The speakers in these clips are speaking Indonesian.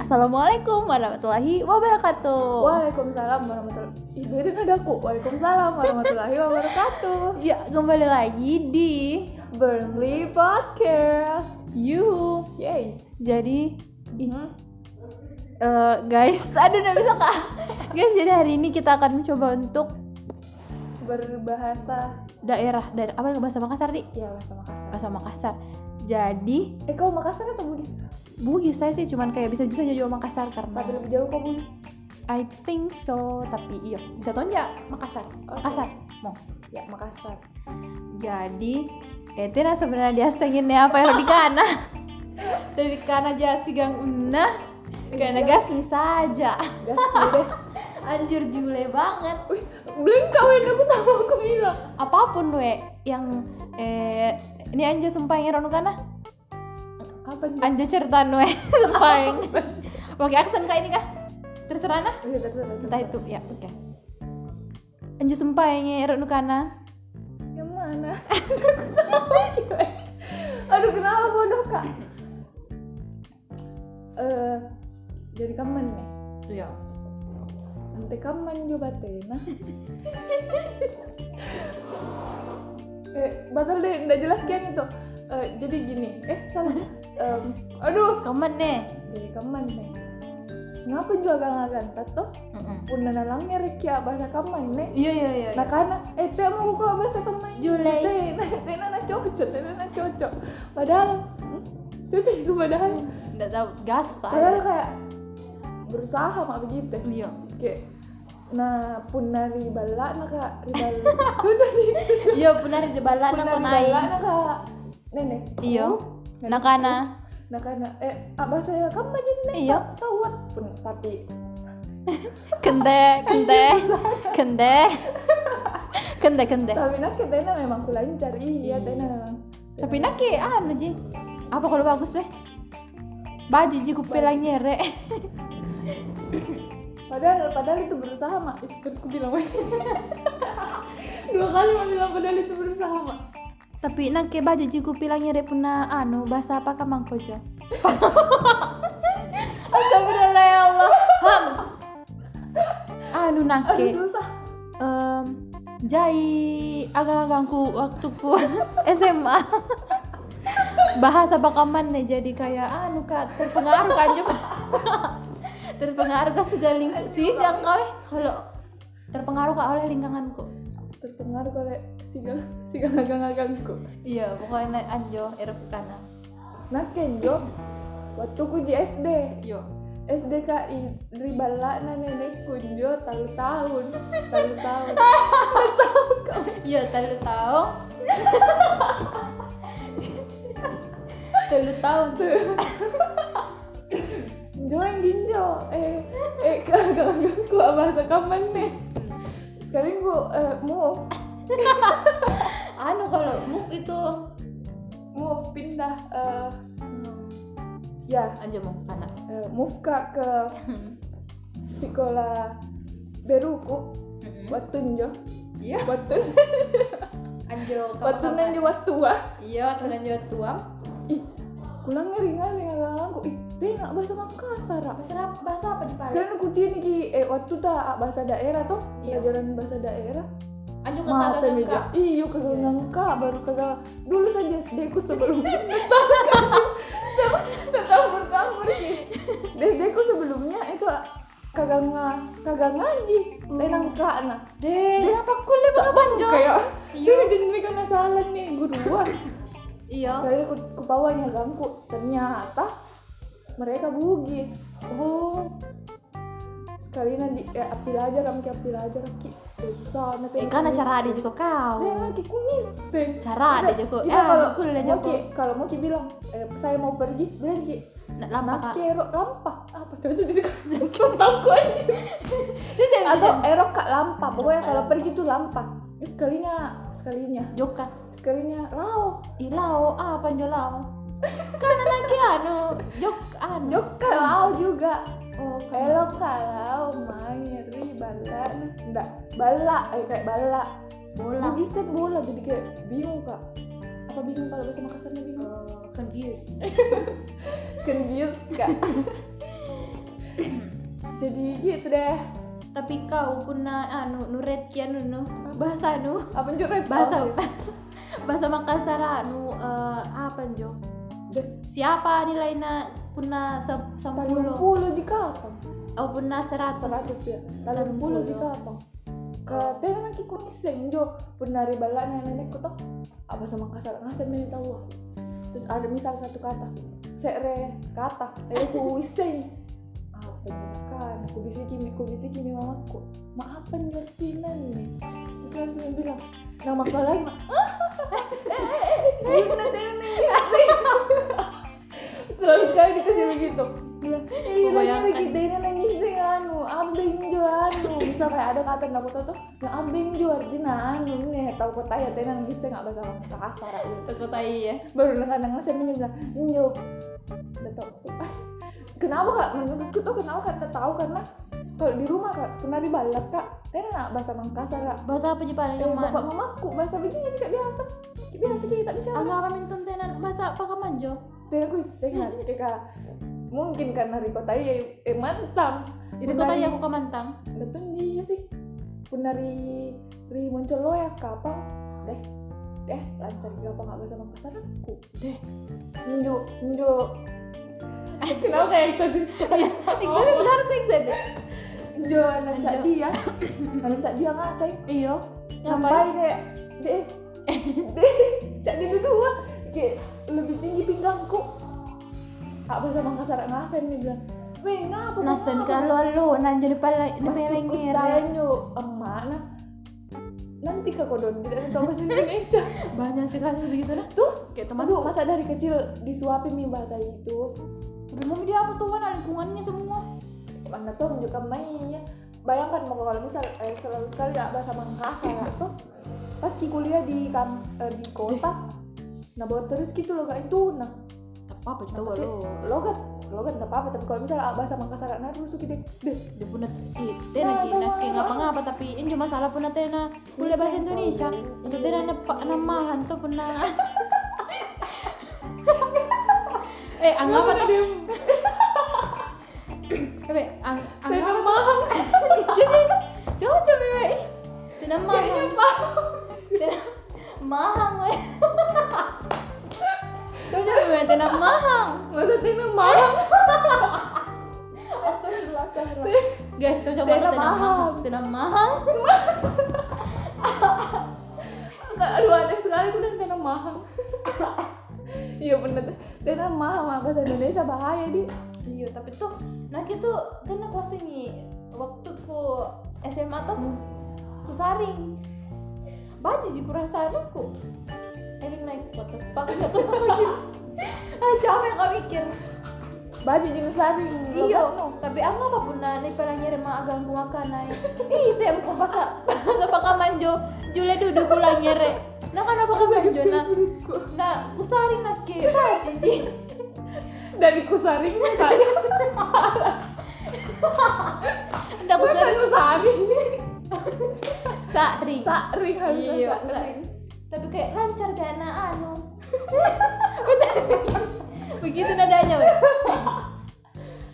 Assalamualaikum warahmatullahi Oh. wabarakatuh. Waalaikumsalam warahmatullahi Ih, beda ada aku. Waalaikumsalam warahmatullahi wabarakatuh. Ya, kembali lagi di Burnley Podcast. You. Yay. Jadi, ih, Hmm. eh, guys, aduh nggak bisa kak. guys, jadi hari ini kita akan mencoba untuk Berbahasa daerah daerah apa yang bahasa Makassar di ya bahasa Makassar. bahasa Makassar. Jadi Eh, kau Makassar atau Bugis? Bugis saya sih cuman kayak bisa bisa jauh Makassar Tapi karena lebih jauh kau Bugis. I think so tapi iya bisa tonjak Makassar Makassar mau Ya, Makassar. jadi itu nah sebenarnya dia senginnya apa yang di kana tapi karena jasi gang unah karena gas saja Gas deh. anjir jule banget Wih, blank kawin aku tahu aku bilang. apapun we yang eh ini anjo sumpah yang ronu kana Apa nih? anjo cerita we sumpah yang pakai aksen kak ini kah terserah nah Udah, udah, udah, udah. entah itu ya oke anjo sumpah yang kan, ronu kana Yang mana? Aduh, kenapa bodoh, Kak? Eh, jadi kaman ya? iya Nanti kaman juga batena. eh, batal deh, nggak jelas kan itu. Eh, jadi gini, eh salah. Em, aduh, komen nih jadi kaman nih. Ngapa juga gak tato? tuh? Mm-mm. Udah nalangnya Riki bahasa kaman nih. iya iya iya Nah karena eh teh mau buka bahasa kaman. Julai. Teh, nah, teh nana cocok, teh nana cocok. Padahal hmm, cocok itu padahal. nggak tahu gas Padahal aja kayak berusaha mak begitu. iya Oke. Nah, punna ribala na ka ribala. Udah sih. iya benar di bala Punna nak ribala na ka nenek. iya nak kana Nah karena eh abah saya kan majin nek. Iya. Tawat pun tapi kende kende kende kende kende tapi nak tena memang ku lancar iya tena memang. tapi nake ah ji apa kalau bagus weh baji ji kupelang nyere Padahal padahal itu berusaha mak. Itu terus ku bilang. Dua kali mak bilang padahal itu berusaha mak. tapi nake baji ji kupelang nyere puna anu bahasa apa kamang kojo astagfirullah ya Allah ham anu nake Aduh susah. Em, jai agang-agangku waktu ku SMA bahasa Pakaman nih jadi kayak anu kak terpengaruh kan juga terpengaruh kan ke segala lingkungan sih jangan kau eh. kalau terpengaruh kak oleh lingkunganku Terpengaruh oleh sigang sigang agang-agangku. iya pokoknya anjo erup kana Nah kenjo waktu ku di SD. yo SDKI ribala na nenek kunjo talu tahun talu tahun iya telu tahu telu tahun jo yang ginjo eh eh kagak ku bahasa kapan nih sekali ku eh, move anu kalau muk itu move pindah eh, ya anu, anjo mau kana eh, move kak ke sekolah beruku waktu njo Iya. waktu Anjo waktu nanti waktu wah Iya, waktu nanjo tuam. ih kulang ngeri nggak sih nggak aku ih dia nggak bahasa Makassar ah. Bahasa apa? Bahasa apa di Palu? Kalian aku cini ki eh waktu ta bahasa daerah tuh Iya. pelajaran bahasa daerah. Anjo kan Maaf salah meja. kakak. Iya kagak ngangka baru kagak dulu saja SD ku sebelum tetap berkamur sih. SD ku sebelumnya itu kagak nga kagak ngaji. Lain nangka nah. Deh, Hmm. kenapa kuliah bang Anjo? Kayak Iya. iya jadi karena salah nih gua Iya. Kali ku ku bawanya gangku ternyata mereka bugis. Oh, sekali nanti eh, api aja kamu ki api aja kaki susah nanti eh kan acara ada juga kau. ya nanti kumiseng Cara ada juga. Iya, Eh, kalau aku udah mau jago. ki kalau mau ki bilang eh, saya mau pergi bilang ki Nak lama nak kak. kero lampah apa tuh jadi contohku aja Ini saya atau bisa erok kak lampah pokoknya Kak kalau pergi tuh lampah Eh, sekalinya sekalinya joka. sekalinya lao Ilau, ah Anjo lau. Kan anak kia, anu, jok anu. joka lao juga Oh, kan. elok kak lao mangiri ya bala enggak bala eh kayak bala bola. Bugis kan bola jadi kayak bingung kak apa bingung kalau bahasa Oh. Makassarnya bingung Eh, Confused. confused kak jadi gitu deh tapi kau puna anu nuret kian nu bahasa nu apa juret bahasa bahasa Makassar anu eh, apa jo siapa nilainya puna se- Talung sampuluh puluh jika apa? oh puna seratus Seratus ya. Talung puluh jika apa? Ke tena naki kunis senjo punari balanya nenek kutok apa sama kasar ngasih minta tahu. lah." Terus ada misal satu kata, sekre kata, eh ku iseng. Apa ini kan? Aku bisa kimi, aku bisa kimi mamaku. Maafan jortinan nih. Terus langsung dia bilang, nama kau lagi mak. Selalu sekali dikasih begitu. Bilang, "Eh, Membayangkan. Ranya kita ini nangis sing anu, ambing jo anu. Misal kayak ada kata nggak tahu tuh, "Nah, nggak ambing jo artinya anu nih. Tahu kota ya, teh nangis sing nggak bahasa bahasa kasar. aja. Tekotai ya Baru kadang-kadang saya bilang, "Nyo, nggak tahu. Ah, Kenapa kak? Menurutku tuh kenapa kata tahu karena kalau di rumah kak, pernah dibalap kak, teh nak bahasa kasar kak. bahasa apa jepara Yang yang bapak mana mamaku bahasa begini tidak biasa. Kayak Biasa kita bicara. agak kami tuntunan bahasa apa kaman jo Tapi aku sering nanti kak. Mungkin karena Riko tadi ya eh, mantap. Tekotai aku kamantang Betunji ya sih. Punari ri muncul lo ya kapang. Deh, deh lancar gila apa nggak bahasa Makassar aku. Deh, njuk njuk. Kenapa kayak excited? excited harus excited Njuk anak cak Njuk. dia, anak cak dia nggak sih? iyo ngapain ngapain kayak deh deh cak dia dua kayak lebih tinggi pinggangku kak bersama kasar ngasen dia bilang weh ngapa nasen anu, ngapa?" kalau lo nanjo di pala di masih pelengir kusayan yo emak nah nanti ke kodon tidak ada tahu bahasa Indonesia banyak sih kasus begitu lah tuh kayak teman masuk masa dari kecil disuapin mi bahasa itu belum dia apa tuh mana lingkungannya semua mana tuh menunjukkan mainnya bayangkan mau kalau misal eh, selalu sekali ya bahasa Makassar ya, tuh pas ki kuliah di kam, eh, di kota nah bawa terus gitu loh gak itu nah apa apa juga tapi lo logat logat nggak apa-apa tapi kalau misalnya bahasa Makassar nah terus kita deh dia punya kita lagi "Eh, nak kayak ngapa-ngapa tapi ini cuma salah punya tena boleh bahasa Indonesia untuk tena nepa namahan tuh pernah eh anggap apa tuh eh ang anggap apa mahal jadi coba coba eh tena mahang tena mahang eh coba coba tena mahang masa tena mahal Astagfirullah, astagfirullah. Guys, cocok banget Tidak tuh tidak mahal. mahal. Tidak mahal. Enggak, aduh aneh sekali aku udah tena mahal iya bener tena mahal mah, bahasa Indonesia bahaya di Iya, tapi tuh gitu, kan nak itu tenang kuasa ni waktu ku SMA tuh ku saring. Baji jiku rasa aku. Erin naik what the fuck aku tak mikir. Ah, siapa yang kau mikir? baju jenis saring Iya, tapi aku nah, apa pun na ni pernah nyirim agak ku makan naik. Ih, itu yang aku bahasa bahasa pakaman jo. Jule duduk pulang nyere. Nah, kenapa kau manjo nah? Nah, ku saring nak ke baji ji. dari kusaring tadi Ndak Nah, ku saring. kusaring Saring. saring harusnya Iya, saring Tapi kayak lancar gak na anu. Begitu nadanya, weh.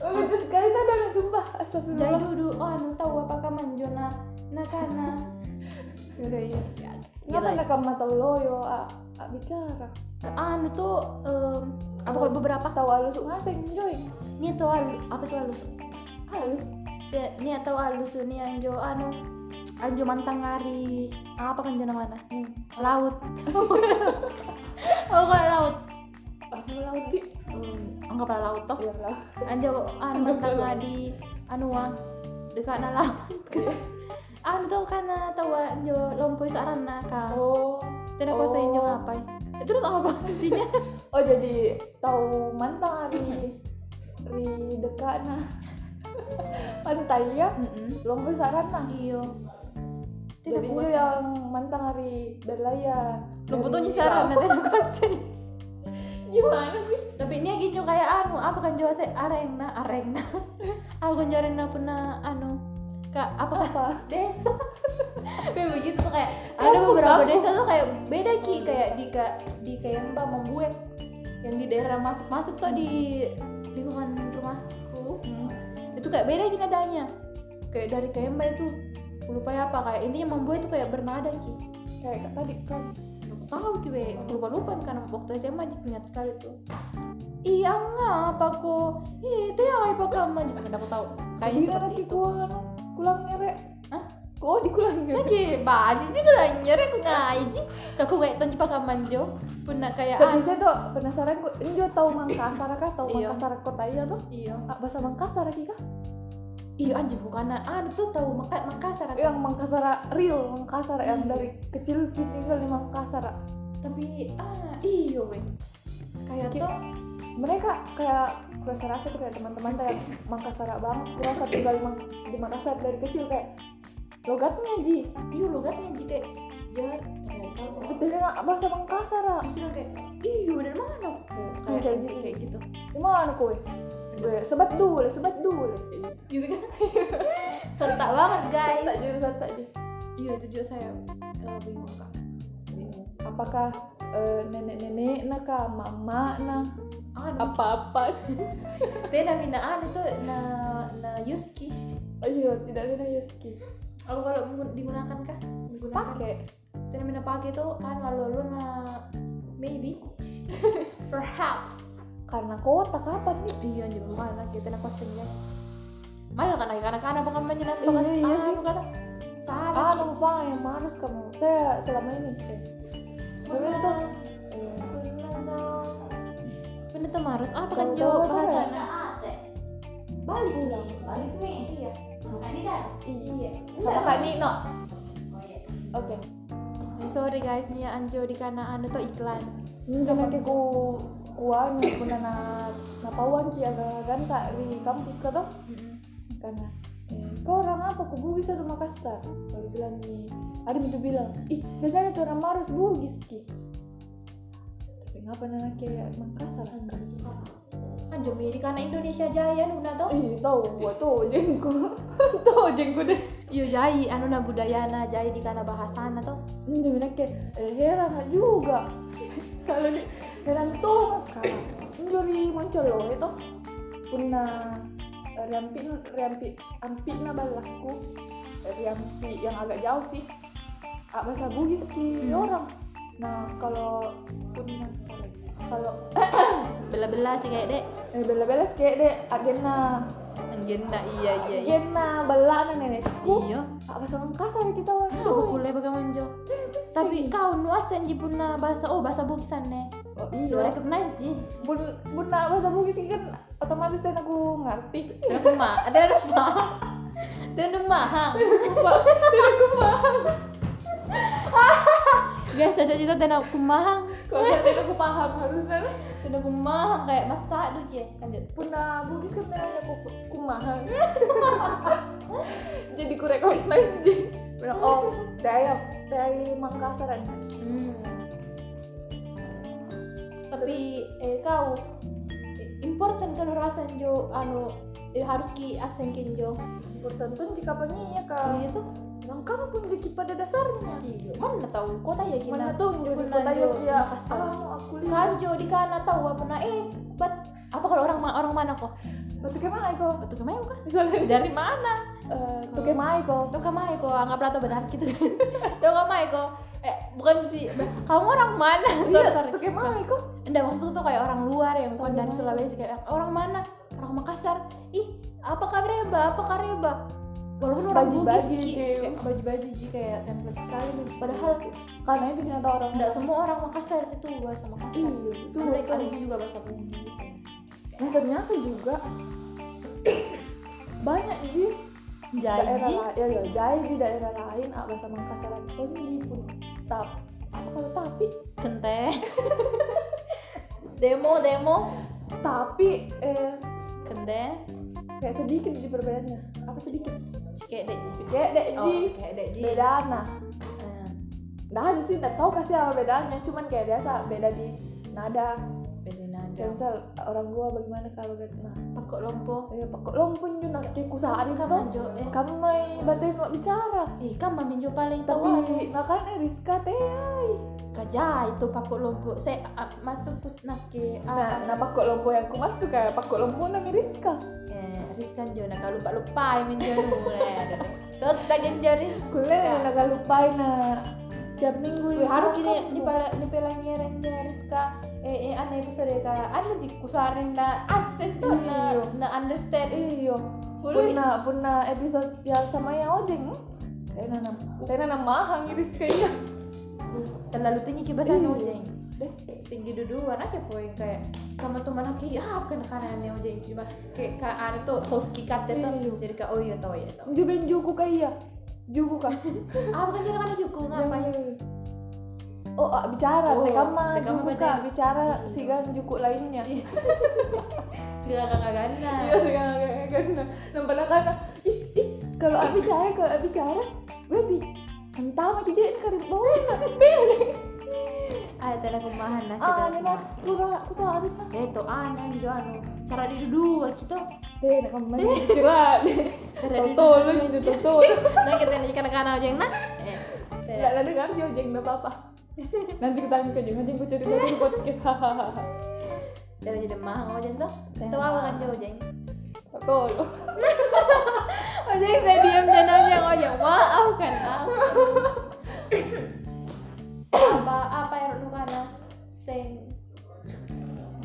Oh, lucu sekali tadi ada sumpah Jai astagfirullah dulu, oh anu tahu apa kaman Jona nakana. Yaudah iya. Ya, gitu ngapa aja. nak kamu tahu loyo a, a bicara Ke anu tuh em, apa kalau beberapa tahu halus ngaseng joy Nih tuh hal- apa tuh ya, halus? Halus. Te- Nih tahu halus tuh nih anjo anu anjo mantangari apa kan jona mana? Laut. oh kok laut. aku laut di Hmm, anggap laut toh. ya lah Anja anu mentang di anu wang dekat na laut ke. Anu tuh karena tahu ah, anjo lompoy sarana ka. oh Tidak kuasa anjo apa? Eh, Terus apa intinya? oh jadi tahu mantang hari ri dekat nah pantai ya Mm-mm. Iya. lomba sarana Iyo. Tidak ya. nah. jadi ya. itu kuasa. yang mantang hari berlayar Lumpur tuh Dari nyisaran, laut. tidak kuasa. gimana sih tapi ini gitu kayak anu apa kan jawa sih arengna arengna aku kan arengna pernah anu kak apa Apa? desa Tapi begitu tuh kayak ada Kampung, beberapa kampung. desa tuh kayak beda ki kayak di ka- di kayak mbak membuat Mm. yang di daerah masuk masuk tuh di lingkungan rumahku itu kayak beda gitu nadanya kayak dari kemba itu lupa ya apa kayak intinya membuat itu kayak bernada ki kayak tadi kan aku tahu ki we lupa lupa karena waktu SMA Ji, ingat sekali tuh iya nggak apa kok iya itu ya apa kamu gitu kan aku tahu kayaknya Bira seperti nanti itu kulang kulang ngerek Hah? kok di kulang ngerek lagi baji sih kalau nyerek ngaji kaku kayak tonji pakaman jo pun nak kayak ah tapi saya tuh penasaran kok ini juga tahu Mangkasar kah tahu Iya. Mangkasar kota iya tuh iya Ah, bahasa Mangkasar kah iya anjir bukan ah itu tahu Maka- Makassar yang Mangkasar real Makassar yang Iya. dari kecil kita tinggal di Mangkasar tapi ah iyo weh kayak Ki- tuh mereka kayak kurasa rasa tuh kayak teman-teman kayak Mangkasar bang kurasa tinggal di Mang- di Makassar dari kecil kayak logatnya ji iyo logatnya jika jahat ternyata sebetulnya bahasa Makassar justru kayak iyo dari mana aku kayak Kayak kayak gitu. gitu kayak gitu gimana kowe Gue sebat dulu sebat dulu gitu kan sontak banget tak guys jadi tak jadi iya itu juga saya eh, bingung kak Bingung. Hmm. apakah eh, nenek-nenek nak kah, mama nah ah apa-apa tena minaan nah, ah, itu na na yuski ayo tidak ada Yoski aku kalau menggun- digunakan kah digunakan pakai tena mina pakai itu kan walau lu na maybe perhaps karena kota kapan nih iya anjir mana gitu kita nak kosen ya malah kan anak anak anak bukan banyak nanti Iya, pas iya sih. kata salah ah lupa yang manis kamu saya selama ini eh, selama ini tuh eh, bener tuh harus apa kan Tahu-tahu jawab tuh bahasa kayak- balik ulang balik nih iya iya Oh, sama kak Nino oke sorry guys nih Anjo di karena anu tuh iklan ini jangan ke ku kuan kuna na napawan ki agak-agak tak di kampus kah tuh karena eh, kau orang apa ku bugis atau Makassar kalau bilang nih ada itu bilang ih biasanya tuh orang Marus bugis ki tapi ngapa nana kayak Makassar kan Anjo di karena Indonesia jaya nu na tuh ih tahu gua tuh jengku tahu jengku deh iya jai anu na budayana jai di karena bahasana tuh ini dia bilang kayak eh, heran lah juga kalau di heran tuh kan ini dari muncul loh itu puna eh, riampi riampi ampi na balaku Eh, riampi yang agak jauh sih ah, bahasa Bugis ki Hmm. orang nah kalau puna kalau bela-bela sih kayak dek eh, bela-bela sih kayak deh agena agenda iya iya iya agena balana nenekku iya ah, bahasa Makassar kita orang gitu aku boleh bagaimana Anjo tapi kan kau nuasen ji puna bahasa oh bahasa bukisan nih oh, lu iya recognize ji bun bunda bahasa Bugis ini kan otomatis dan aku ngerti tidak rumah tidak rumah tidak rumah dan aku paham guys cocok itu tidak kumahang kalau dan aku paham harusnya tidak kumahang kayak masak tuh ya lanjut bunda Bugis kan namanya aku kumaha jadi ku recognize jadi bilang oh daya dari Makassar kan? hmm. tapi eh, kau eh, important kalau rasa jo anu eh, harus ki asengkin jo tentu jika penyi ya kak itu orang kamu pun jadi pada dasarnya mana tahu kota ya Iya. kita mana tuh jadi Pernah kota Jo, Yogyakarta Makassar. ah aku lihat kanjo di kana tahu apa nah eh but apa kalau orang ma- orang mana kok batu kemai kok betul kemana kah misalnya dari mana eh, batu kemai kok Tuh kamai kok, anggaplah tuh benar gitu. Tuh kamai kok. Eh, bukan sih. Kamu orang mana? Iya. sorry, sorry. batu kemai kok Enggak maksudku tuh kayak orang luar yang bukan dari Orang Sulawesi kayak orang mana? Orang Makassar. Ih, apa kareba? Apa kareba? Walaupun orang Bugis Baju-baju, Ki. Ji. kayak baju-baju Ji kayak template sekali nih. Padahal karena itu ternyata orang enggak semua orang Makassar itu bahasa Makassar. Iya, itu Ada- mereka. ada juga bahasa Bugis. Nah ternyata juga banyak ji daerah Jaiji. lain, ya ya jai di daerah lain ah, bahasa Makassar pun ji pun tap apa kalau tapi Kente. demo demo tapi eh, kente kayak sedikit ji perbedaannya apa sedikit cike dek ji kayak dek ji oh kayak dek ji beda nah nah di sini nggak tahu kasih apa bedanya cuman kayak biasa beda di nada Berenang mandang Kayak misal orang gua bagaimana kalau gat nah pakok lompo ya pakai long pun juga nak kayak kusaan itu kaman jo eh kamu main batin mau bicara eh kaman minjo paling tawa tapi makanya Rizka teh ay. gajah itu pakok lompo saya ah, masuk pus nake nah ah nah pakai lompo yang aku masuk kayak pakai lompo nama Rizka eh riskan jo nak lupa lupa minjo mulai so tak genjo ris kuliah yang agak lupain nah tiap minggu Ya. Wih, harus ini di pala di pelangirannya Rizka eh eh aneh episode kayak ada jiku sarin na asen tuh na Iyo. na understand iyo Boleh. puna puna episode yang sama yang ojeng Tena nama, tena nama hang Rizka iya. terlalu tinggi kibasan Iyo. ojeng Deh, tinggi duduan aja poin kayak kamu tuh mana kayak ah bukan kanannya ojeng cuma kayak kayak ada tuh host kikat itu Iyo. jadi kayak oh iya tau iya tau juben juku kayak juku kah? ah bukan jadi kan cukup ngapain Jangan. Oh, ah, bicara, Oh, Iya. teka mah teka mah juku badan. kah? Bicara sigan juku lainnya. Iya, segala kagak sigan kayak gitu. Nah, karena nampaknya karena kan, ih ih kalau aku bicara kalau aku bicara berarti entah mah kijek ini karib bawah ah tadi aku mahan lah Nah, kita Ah, ini mah kurang aku salah abis mah. ya itu aneh jo anu cara dia duduk gitu Deh, nak kamu main cerah deh. Cara dia Toto lu jadi toto. nah kita nih kanak-kanak ojeng nah eh teh. Enggak ada kan sih ojeng enggak apa-apa. Nanti kita tanya ke ojeng, ojeng ku cerita di podcast. Hahaha. Dari jadi mah ojeng tuh. Teh Tuh apa mah. kan ojeng? Toto lu. Ojeng saya diam dan ojeng ojeng. Maaf kan maaf. apa apa yang lu kana? Sen.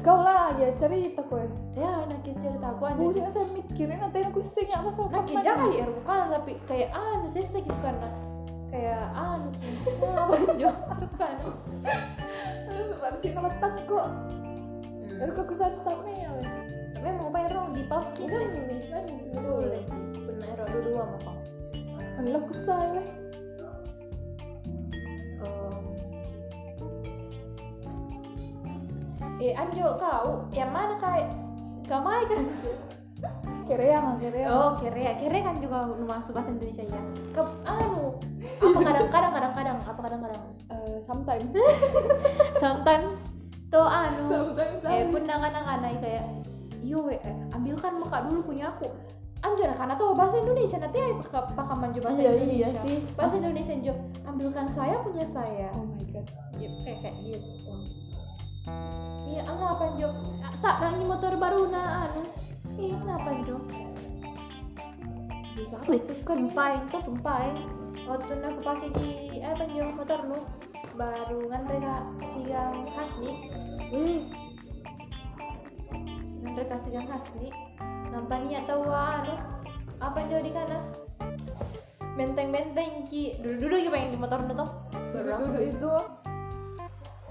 Kau lah ya cerita kowe. Ya nak cerita aku Aku aja. sih saya mikirin nanti aku sing apa sama Nak jangan ya bukan tapi kayak anu saya sakit karena kayak anu. Apa jo? Bukan. Habis itu letak kok. Hmm. Lalu aku santap nih ya. Memang apa yang wrong di pause Ini kita. ini kan Dulu lagi. Benar dulu dua mau kok. Lalu aku salah. Eh Anjo kau yang mana kayak kamai kan Anjo? Kira ya nggak kira ya. Oh, kere ya. Kere kan juga masuk bahasa Indonesia ya. Ke anu, apa kadang-kadang kadang-kadang apa kadang-kadang. Eh, Sometimes. Sometimes to anu. Sometimes. Eh, pun nangan-nangan kayak yo eh, ambilkan muka dulu punya aku. Anjo karena tuh bahasa Indonesia nanti ay pakai pakai manju bahasa Iya, iya Indonesia. sih. Bahasa Indonesia Anjo, ambilkan saya punya saya. Oh my god. Iya, kayak kayak gitu. Iya, ah, ngapa Jo? Sak rangi motor baru na anu. Ih, ngapa Jo? Bisa kan? Wih, sumpah itu sumpah. Waktu aku pakai di apa Jo motor nu baru kan mereka sigang hasni, Wih. kan mereka sigang hasni. Nampak niat tahu anu apa Jo di kana? Benteng-benteng ki dulu-dulu ki pengen di motor nu tuh. Baru Duduk langsung itu.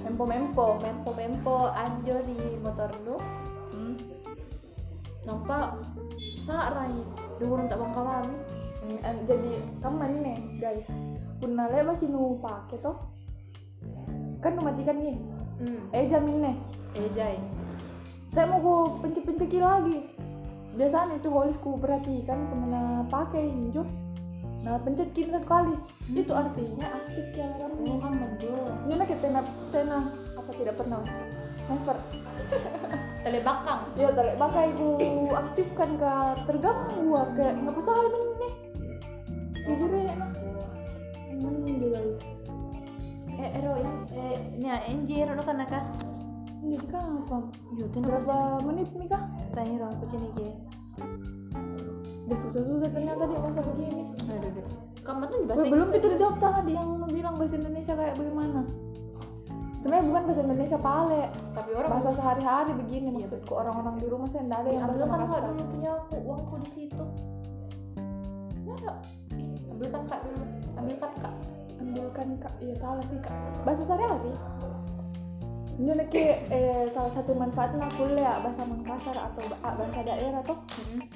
Mempo mempo. mempo-mempo anjo di motor nu. Hmm. nampak sarai dulu tak bangka kami Hmm, eh, Jadi kaman nih guys. Puna le bagi nu pakai toh. Kan nu matikan nih. hmm. Eh jamin nih. eh jai Tak mau gue pencet-penceki lagi. Biasanya itu harus ku perhatikan pernah kan pakai injuk. Nah, pencetkin satu kali. Itu artinya aktif di alarmnya. Hmm. kan menjual Ini nak kita nak tenang apa tidak pernah? Never. tele bakang Ya, tak lek pakai ku aktifkan ke terganggu ke nggak pesah ini nih. Jujur ya, nak. Hmm, Emang ini guys. eh ero eh nya enjir anu kan nakah Ini apa? yo tuh napa Berapa menit Iya, nih kah? terakhir aku cini ge Udah susah-susah ternyata dia masa begini. aduh aduh kamu tuh di bahasa ya? Weh, belum kita jawab tadi yang lu bilang bahasa Indonesia kayak bagaimana? Sebenarnya bukan bahasa Indonesia pale, tapi orang bahasa sehari-hari begini maksudku orang-orang di rumah saya enggak ada Eh, yang bahasa ambil kan kak Makassar. dulu punya aku uangku di situ mana Ih, ambil kan kak dulu ambil kan kak Ambilkan kak, iya salah sih kak. Bahasa sehari-hari. Ini lagi eh, salah satu manfaatnya kuliah bahasa Makassar atau ba- ah, bahasa daerah tuh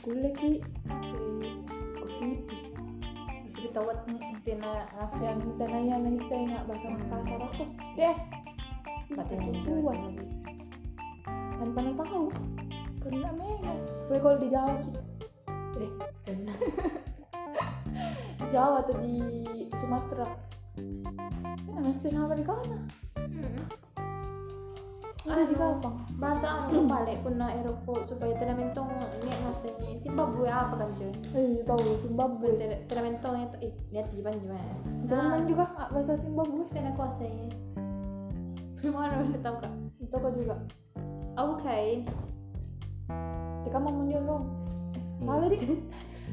kuliah ki eh, gosip bisa ditawat tina ngasih yang kita nanya nih saya nggak bahasa Makassar tuh deh. patin Sakit puas. tanpa yang tahu karena memang gue kalau di Jawa ki- eh tenang Jawa atau di Ya, Sumatera ini nasi ngapa di kana Mm-mm. Jadi Anu, gampang. bahasa anu balik pun na Eropa supaya tidak mentong ni nasi Zimbabwe apa kan cuy Eh, tahu Zimbabwe. tidak tidak mentong itu eh lihat jiban gimana Ah, Jerman juga nggak bahasa Zimbabwe. tidak kuasa ya gimana udah tahu kak Itu kok juga. oke Tika kan mau menyolong. Apa tadi?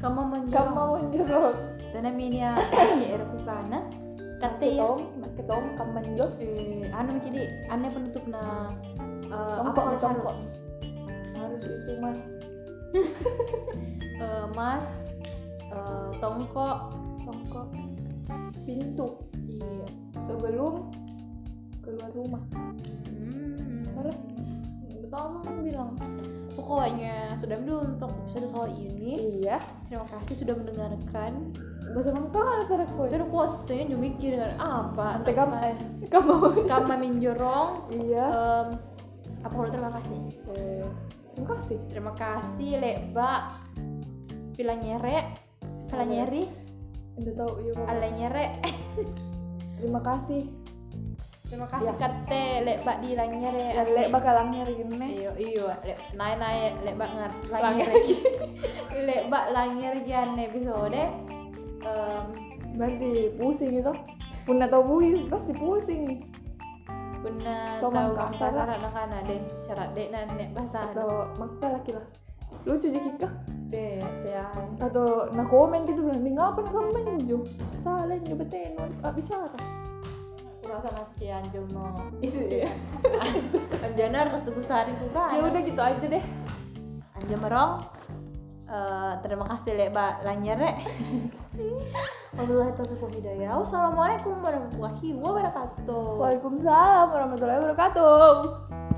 kamu Kamu menjawab mau menyolong. tidak minia ke Eropa kana kata Ketong, ketong, kamu menyolong. eh anu jadi aneh penutup na eh, Tongkok, apa kalau tongkok. harus Harus itu mas. Eh, mas eh, tongkok Tongkok. Pintu. iya Sebelum keluar rumah. hmm. Salah. Pertama kan bilang. Pokoknya sudah dulu untuk episode kali ini. Iya. Terima kasih sudah mendengarkan. Bahasa Mangka ada serak koi. Terus puasanya juga mikir dengan apa? Tika nama- Tika mau. Kama menjorong. Iya. Em, apa kalau terima kasih? Eh, Terima kasih. Terima kasih Leba. Pila nyerek, salah nyeri, Udah tahu iya. Mama. ala nyerek. Terima kasih. Terima kasih Ya. kate Leba di la nyerek. Ya, Lek bakal langir gini. Iyo iyo, lek naik naik lek bak ngar Lang- langir lek bak langir jan episode. Em, Berarti pusing gitu. itu. Pun atau buis pasti pusing. Guna tahu tahu Tau mangka bahasa salah. anak kan ada cara dek nan nek bahasa anak Atau makta laki lah. Lucu je kita. dek ya Atau nak komen gitu bilang, ni ngapa nak komen je? Salah ni betul nak nak bicara. kurang sama kian jomo ya. anjana harus sebesar itu kan Ya udah gitu aja deh. anja merong Eh, terima kasih lek mbak lanyere Wabillahi taufiq wal hidayah. Wassalamualaikum warahmatullahi wabarakatuh. Waalaikumsalam warahmatullahi wabarakatuh.